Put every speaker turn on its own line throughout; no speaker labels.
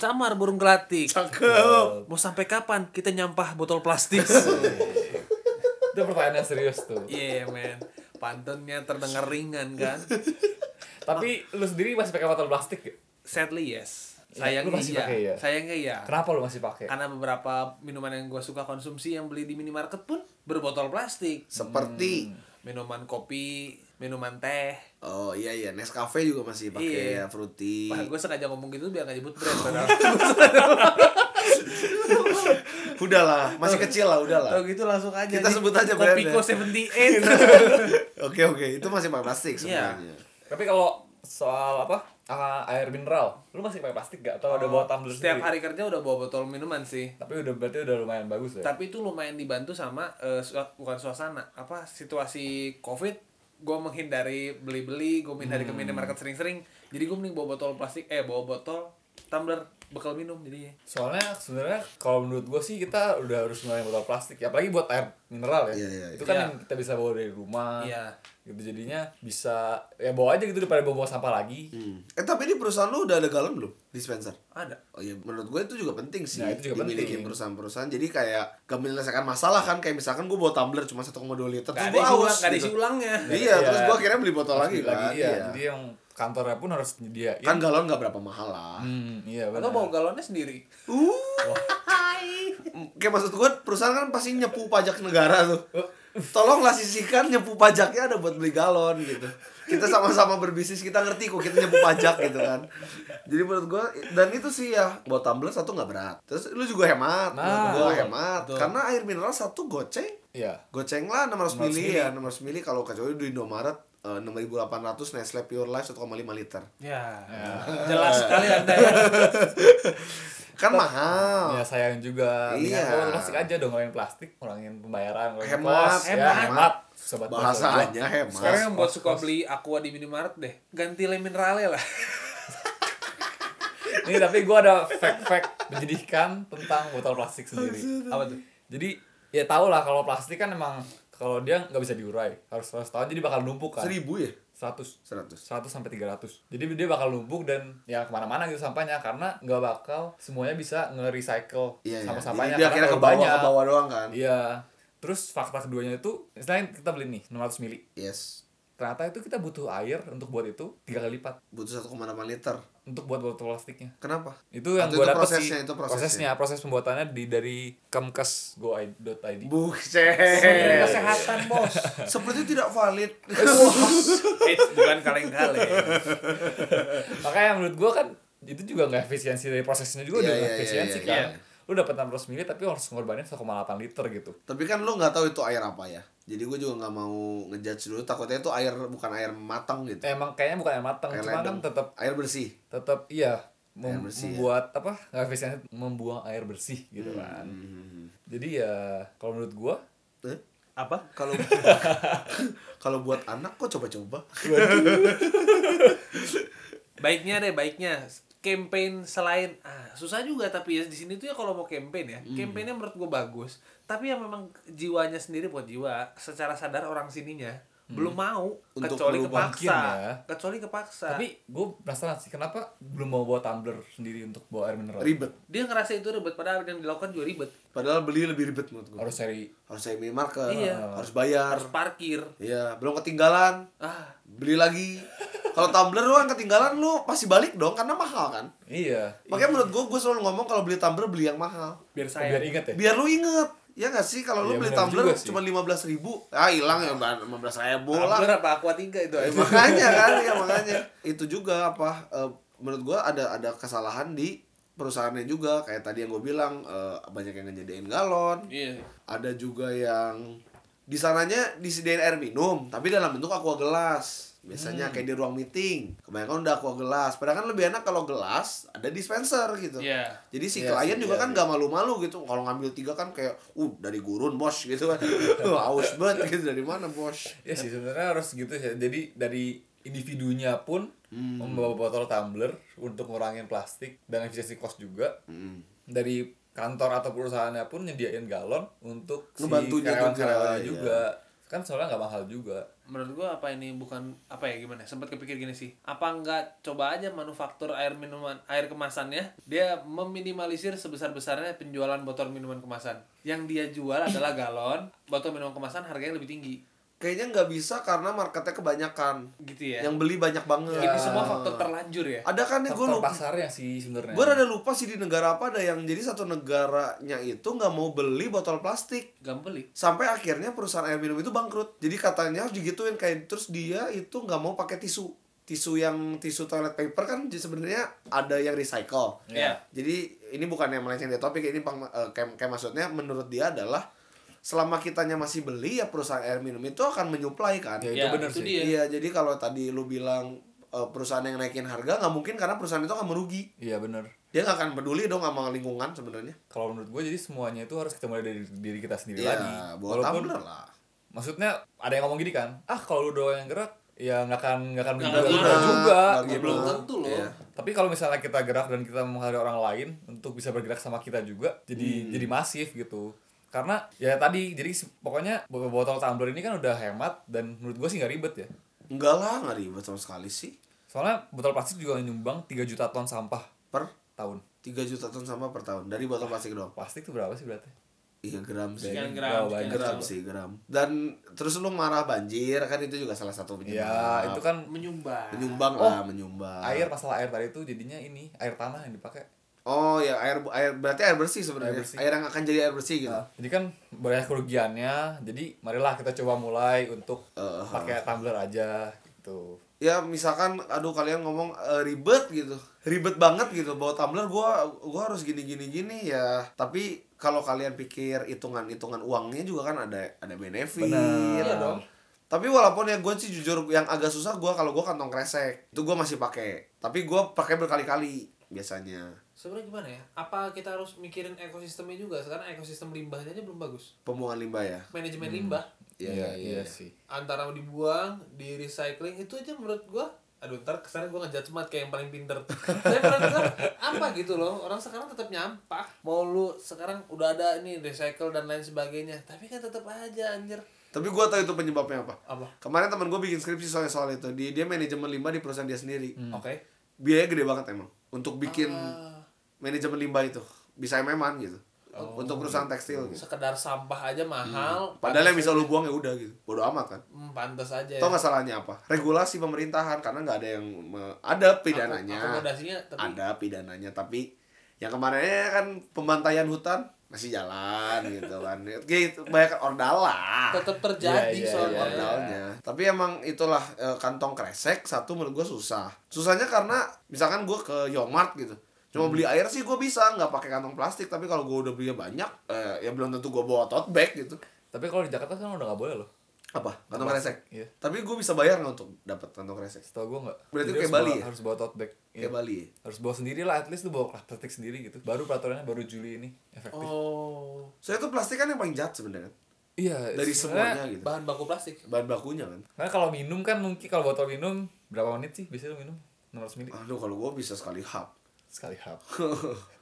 camar, burung gelatik.
Cakep.
Mau sampai kapan kita nyampah botol plastik?
Itu pertanyaan yang serius tuh.
Iya, men. Pantunnya terdengar ringan kan?
Tapi lu sendiri masih pakai botol plastik gak?
Sadly yes.
Iya,
Sayangnya
lu masih
iya.
pakai ya?
Sayangnya iya.
Kenapa lu masih pakai?
Karena beberapa minuman yang gue suka konsumsi yang beli di minimarket pun berbotol plastik.
Seperti
Hmm.
Minuman kopi, minuman teh.
Oh iya iya Nescafe juga masih pakai
Iya.
fruity.
Wah, gue sengaja ngomong gitu biar gak nyebut brand. padahal.
Udahlah, masih kecil lah
Kalau
udahlah.
gitu langsung aja.
Kita
nih.
sebut aja
ya?
Kopiko
brandnya.
Iya,
78.
Oke oke, itu masih pakai plastik
Iya.
sebenarnya.
Tapi kalau soal apa? ah, air mineral, lu masih pakai plastik gak? Atau udah bawa tumbler ya?
Setiap
sendiri?
hari kerja udah bawa botol minuman sih.
Tapi udah berarti udah lumayan bagus ya.
Tapi itu lumayan dibantu sama eh, sua- bukan suasana, apa situasi Covid gue menghindari beli-beli, gue menghindari ke minimarket sering-sering. Jadi gue mending bawa botol plastik, eh bawa botol tumbler bekal minum jadi
Soalnya sebenarnya kalau menurut gue sih kita udah harus ngurangin botol plastik, ya, apalagi buat air mineral ya.
Iya, iya, iya.
Itu kan
Iya.
yang kita bisa bawa dari rumah.
Iya.
Gitu jadinya bisa ya bawa aja gitu daripada bawa, -bawa sampah lagi.
Hmm. Eh tapi di perusahaan lu udah ada galon belum? Dispenser?
ada.
Oh ya menurut gue itu juga penting sih
Nah, itu juga
dimiliki
penting.
perusahaan-perusahaan jadi kayak gak menyelesaikan masalah kan kayak misalkan gue bawa tumbler cuma 1,2 liter terus
Gak ada isi
gue
ulang, gak
haus
ada
gitu.
isi ulangnya.
iya
Iya.
terus gue akhirnya beli botol
Harus
lagi
beli
kan
iya.
iya.
Jadi yang kantornya pun harus nyediain.
kan galon gak berapa mahal lah
Hmm, iya benar.
Atau bawa galonnya sendiri.
Mm, kayak maksud gue perusahaan kan pasti nyepu pajak negara tuh
Oh.
tolonglah sisihkan nyepu pajaknya ada buat beli galon gitu kita sama-sama berbisnis kita ngerti kok kita nyepu pajak gitu kan jadi menurut gue dan itu sih ya buat tumbler satu nggak berat terus lu juga hemat menurut
Nah,
gue
betul,
hemat
betul.
karena air mineral satu goceng
Iya.
goceng lah 600 mili
600
ya 600 mili kalau kecuali di Indomaret eh, 6800 Nestle Pure Life 1,5 liter
Ya. Jelas sekali Anda ya.
kan mahal
Ya sayang juga.
Iya.
Dengan botol plastik aja dong ngurangin plastik, ngurangin pembayaran, ngurangin
Hemat,
kos, ya,
hemat.
hemat. Sobat
bahasanya hemat
Sekarang yang buat
Mas,
suka
mas.
beli aqua di minimarket deh. Ganti le minerale lah.
Ini tapi gue ada fact-fact menyedihkan tentang botol plastik sendiri.
Apa tuh?
Jadi ya tau lah kalau plastik kan emang kalau dia nggak bisa diurai harus 100 tahun jadi bakal numpuk kan. 100
seribu ya
100
100
sampai 300 Jadi dia bakal numpuk dan ya kemana-mana gitu sampahnya Karena nggak bakal semuanya bisa nge-recycle
Iya, iya.
sampah-sampahnya
Jadi dia akhirnya
ya, karena
ke
terlalu
bawah
banyak.
ke bawah doang kan.
Iya. Terus fakta keduanya itu, misalnya kita beli nih 600 mili.
Yes.
Ternyata itu kita butuh air untuk buat itu tiga kali lipat
Butuh 1,8 liter.
untuk buat botol plastiknya.
Kenapa?
Itu yang
Atau
gue
itu
dapet
prosesnya,
sih.
itu prosesnya.
proses pembuatannya di dari kemkes.go.id.
Buset.
Kesehatan, Bos.
Seperti tidak valid.
Eh, bukan kaleng-kaleng.
Makanya menurut gue kan itu juga nggak efisiensi dari prosesnya juga
Iya,
udah
iya,
nggak
iya,
efisiensi
iya,
kan.
iya.
Lu dapat 600 mili tapi harus ngorbanin 1,8 liter gitu.
Tapi kan lu nggak tahu itu air apa ya. Jadi gue juga nggak mau ngejudge dulu takutnya itu air bukan air matang gitu.
Emang kayaknya bukan yang matang,
air
Eh, cuma kan
ledeng.
tetap
air bersih.
tetap iya mem-
Air bersih, ya. Hmm,
membuat apa nggak efisiensi membuang air bersih gitu kan. Jadi ya kalau menurut gua
Eh?
Apa?
Kalau kalau buat anak kok coba-coba.
baiknya deh baiknya campaign selain ah susah juga tapi ya di sini tuh ya kalau mau campaign ya campaignnya menurut gue bagus tapi yang memang jiwanya sendiri buat jiwa secara sadar orang sininya belum mau
Untuk
kecuali
merubah.
kepaksa
Mungkin ya.
kecuali kepaksa
tapi gua penasaran sih kenapa belum mau bawa tumbler sendiri untuk bawa air mineral.
Ribet.
dia ngerasa itu ribet padahal yang dilakukan juga ribet
Padahal beli lebih ribet menurut gue.
Harus cari
Harus saya minimarket,
Iya.
harus bayar.
harus parkir
Iya, belum ketinggalan.
ah
beli lagi kalau tumbler lu yang ketinggalan lu pasti balik dong karena mahal kan
iya.
makanya menurut gua gua selalu ngomong kalau beli tumbler beli yang mahal
biar saya
Biar inget ya.
biar lu inget ya gak sih kalau lu
Iya,
beli
benar
tumbler
juga sih.
cuma lima belas ribu ah hilang ya lima belas ribu lah
Tumbler apa aqua tiga itu
Ya, makanya kan ya makanya itu juga apa eh, menurut gua ada ada kesalahan di perusahaannya juga kayak tadi yang gua bilang eh, banyak yang ngejadiin galon
iya
ada juga yang di sananya disediain air minum tapi dalam bentuk aqua gelas
Hmm.
biasanya kayak di ruang meeting kebanyakan udah aqua gelas padahal kan lebih enak kalau gelas ada dispenser gitu
Iya.
jadi si
Iya
klien
sih, iya
juga kan gak malu-malu gitu kalau ngambil tiga kan kayak uh dari gurun bos gitu kan haus banget gitu dari mana bos
Ya sih sebenarnya harus gitu ya. Jadi dari individunya pun
Hmm.
membawa botol tumbler untuk ngurangin plastik dan efisiensi kos juga.
Mm.
Dari kantor atau perusahaannya pun nyediain galon untuk si
Ngebantunya juga,
karyawan-karyawannya
iya.
juga. Kan soalnya nggak mahal juga.
menurut gua apa ini bukan apa ya gimana sempat kepikir gini sih apa nggak coba aja manufaktur air minuman air kemasannya dia meminimalisir sebesar besarnya penjualan botol minuman kemasan yang dia jual adalah galon botol minuman kemasan harganya lebih tinggi
Kayaknya nggak bisa karena marketnya kebanyakan.
gitu ya
Yang beli banyak banget.
ini semua faktor terlanjur ya
Ada kan nih gue
faktor
lupa.
pasarnya sih sebenarnya
Gue rada lupa sih di negara apa ada yang jadi satu negaranya itu nggak mau beli botol plastik
gak beli
sampai akhirnya perusahaan air minum itu bangkrut. Jadi katanya harus digituin kayak terus dia itu nggak mau pakai tisu. Tisu yang tisu toilet paper kan j- sebenarnya ada yang recycle.
Iya.
Jadi ini bukan yang melenceng dari topik ini pang- eh, kayak, kayak maksudnya menurut dia adalah selama kitanya masih beli ya perusahaan air minum itu akan menyuplai kan.
Ya,
Ya,
itu bener
itu
sih.
dia.
Iya, jadi kalau tadi lu bilang eh, perusahaan yang naikin harga nggak mungkin karena perusahaan itu akan merugi.
iya bener
Dia nggak akan peduli dong sama lingkungan sebenarnya.
kalau menurut gue jadi semuanya itu harus kita mulai dari diri kita sendiri lagi
Iya, buat tumbler lah.
maksudnya ada yang ngomong gini kan ah kalau lu doang yang gerak ya nggak akan nggak akan
Nggak
berguna
guna.
juga
Nggak
gitu.
Ya, belum
Iya.
tentu loh
Iya.
tapi kalau misalnya kita gerak dan kita menghargai orang lain untuk bisa bergerak sama kita juga jadi
Hmm.
jadi masif gitu karena ya tadi jadi se- pokoknya bo- botol tumbler ini kan udah hemat dan menurut gue sih nggak ribet ya
Enggak lah, nggak ribet sama sekali sih.
soalnya botol plastik juga nyumbang 3 juta ton sampah
Per
tahun
3 juta ton sampah per tahun dari botol plastik doang.
plastik tuh berapa sih berarti
Iya, gram sih.
Sekian
Berapa
gram, sekian
banyak?
Gram
gram.
sih, gram. Dan terus lu marah banjir kan itu juga salah satu penyebab.
ya itu kan
menyumbang
menyumbang
Oh.
lah, menyumbang.
air masalah air tadi itu jadinya ini air tanah yang dipakai
Oh, ya air air berarti air bersih sebenarnya.
Air
Air,
bersih.
yang akan jadi air bersih gitu.
jadi kan banyak kerugiannya jadi marilah kita coba mulai untuk
Eh,
pakai tumbler aja gitu
ya misalkan aduh kalian ngomong e, ribet gitu ribet banget gitu bawa tumbler gua gua harus gini gini gini ya tapi kalau kalian pikir hitungan hitungan uangnya juga kan ada ada benefit
Benar.
Iya dong tapi walaupun ya gue sih jujur yang agak susah gua kalau gua kantong kresek itu gua masih pakai tapi gua pakai berkali-kali biasanya
sebenarnya gimana ya apa kita harus mikirin ekosistemnya juga sekarang ekosistem limbahnya aja belum bagus
pembuangan limbah ya
manajemen limbah
Iya, iya.
sih
antara dibuang di recycling itu aja menurut gua aduh ntar kesana gua ngejudge banget kayak yang paling pinter tapi menurut gua apa gitu loh orang sekarang tetap nyampah mau lu sekarang udah ada ini recycle dan lain sebagainya tapi kan tetap aja anjir
tapi gua tahu itu penyebabnya apa
apa
kemarin teman gue bikin skripsi soal soal itu dia dia manajemen limbah di perusahaan dia sendiri
oke
biaya gede banget emang untuk bikin
Ah. Oh.
manajemen limbah itu bisa MM-an gitu untuk perusahaan tekstil gitu.
sekedar sampah aja mahal
padahal yang bisa lu buang ya udah gitu bodoh amat kan
Hmm, pantas aja ya.
tau nggak salahnya apa regulasi pemerintahan karena nggak ada yang me- ada pidananya
akomodasinya tapi
ada pidananya tapi yang kemarinnya kan pembantaian hutan masih jalan gitu kan gitu banyak ordal lah
tetap terjadi
Iya, iya,
soalnya
iya.
modalnya. Tapi emang itulah eh, kantong kresek satu menurut gue susah. Susahnya karena misalkan gue ke Yomart gitu. Cuma
Hmm.
beli air sih gue bisa nggak pakai kantong plastik tapi kalau gue udah beli banyak eh, ya belum tentu gue bawa tote bag gitu.
tapi kalau di Jakarta kan udah nggak boleh loh
Apa? Kantong kresek.
iya
Tapi gue bisa bayar nggak untuk dapat kantong kresek?
setahu gue nggak
Berarti
Jadi
kayak
harus
Bali
bawa-
ya?
harus bawa tote bag Iya.
Kayak Bali. ya?
harus bawa sendiri lah at least lu bawa plastik sendiri gitu baru peraturannya baru Juli ini efektif
oh
Soalnya itu plastik kan yang paling jahat sebenarnya.
iya
Dari
sebenarnya-
semuanya gitu.
bahan baku plastik
Bahan bakunya kan.
karena kalau minum kan mungkin kalau botol minum berapa menit sih biasanya lu minum 600 mili
Aduh kalau gue bisa sekali hap.
sekali hap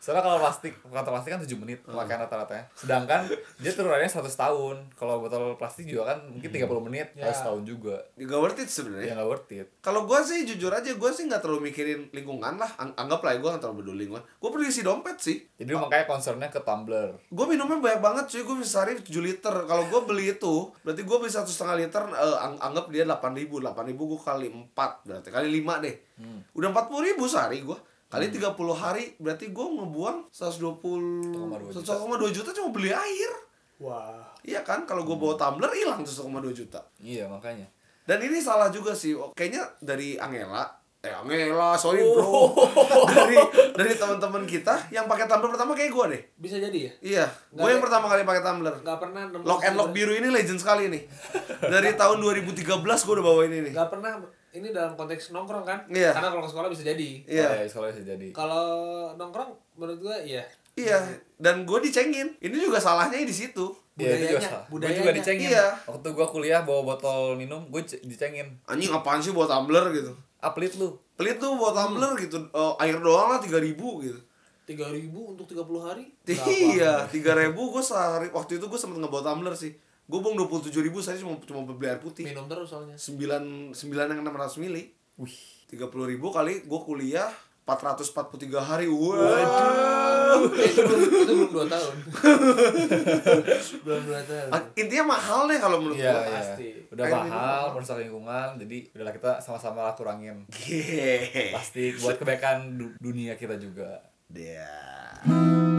soalnya kalau plastik kantong plastik kan 7 menit
Oh.
pemakaian rata-ratanya sedangkan dia turunannya 100 tahun kalau botol plastik juga kan
Hmm.
mungkin 30 menit
Ya.
harus tahun juga
Gak worth it
ya
sebenarnya.
nggak worth it
Kalau gue sih jujur aja gue sih nggak terlalu mikirin lingkungan lah. Ang- anggaplah ya gue nggak terlalu peduli lingkungan. Gue peduli isi dompet sih.
jadi lu makanya concernnya ke tumbler
Gue minumnya banyak banget cuy, gue bisa sehari 7 liter Kalau gue beli itu, berarti gue beli satu setengah liter eh, ang- Anggap dia 8 ribu, 8 ribu gue kali 4 berarti, kali 5 deh Udah 40 ribu sehari gue Kali 30 hari, berarti gue ngebuang 120,
1,2 juta.
1,2 juta cuma beli air
wah
Iya kan, kalau gue bawa tumbler hilang tuh 1,2 juta
iya makanya
Dan ini salah juga sih, oh, kayaknya dari Angela Eh Angela, sorry bro Dari, dari teman-teman kita, yang pakai tumbler pertama kayak gue deh
bisa jadi ya
Iya, gue yang pertama kali pakai tumbler
nggak pernah gitu. nemu
Lock and Lock biru ini legend sekali nih. Dari tahun 2013 gue udah bawa ini nih.
nggak pernah ini dalam konteks nongkrong kan
Iya.
karena kalau ke sekolah bisa jadi
Iya.
Kalau ya, sekolah bisa jadi
kalau nongkrong menurut gua iya
Iya, dan gue dicengin. Ini juga salahnya di situ.
Iya, itu juga
Budayanya,
salah. Gue
budayanya.
juga dicengin.
Iya.
Waktu gua kuliah bawa botol minum, gue dicengin.
Anjing apaan sih bawa tumbler gitu.
Ah, pelit lu.
Pelit tuh bawa tumbler gitu. Eh, air doang lah 3000 gitu.
tiga ribu untuk 30 hari
Iya, 3000 gue sehari waktu itu gue sempet ngebawa tumbler sih. gue buang dua puluh tujuh ribu saya cuma cuma beli air putih
minum terus soalnya
sembilan sembilan yang enam ratus mili
Wih.
tiga puluh ribu kali gue kuliah 443 hari Waduh.
waduh itu belum itu belum dua tahun belum dua tahun
Ah, intinya mahal deh kalau menurut
Iya,
gua.
iya.
pasti.
Udah
Air minum
mahal,
mahal.
merusak lingkungan, jadi udahlah kita sama-sama lah kurangin
Gih.
plastik buat kebaikan du- dunia kita juga.
Dia.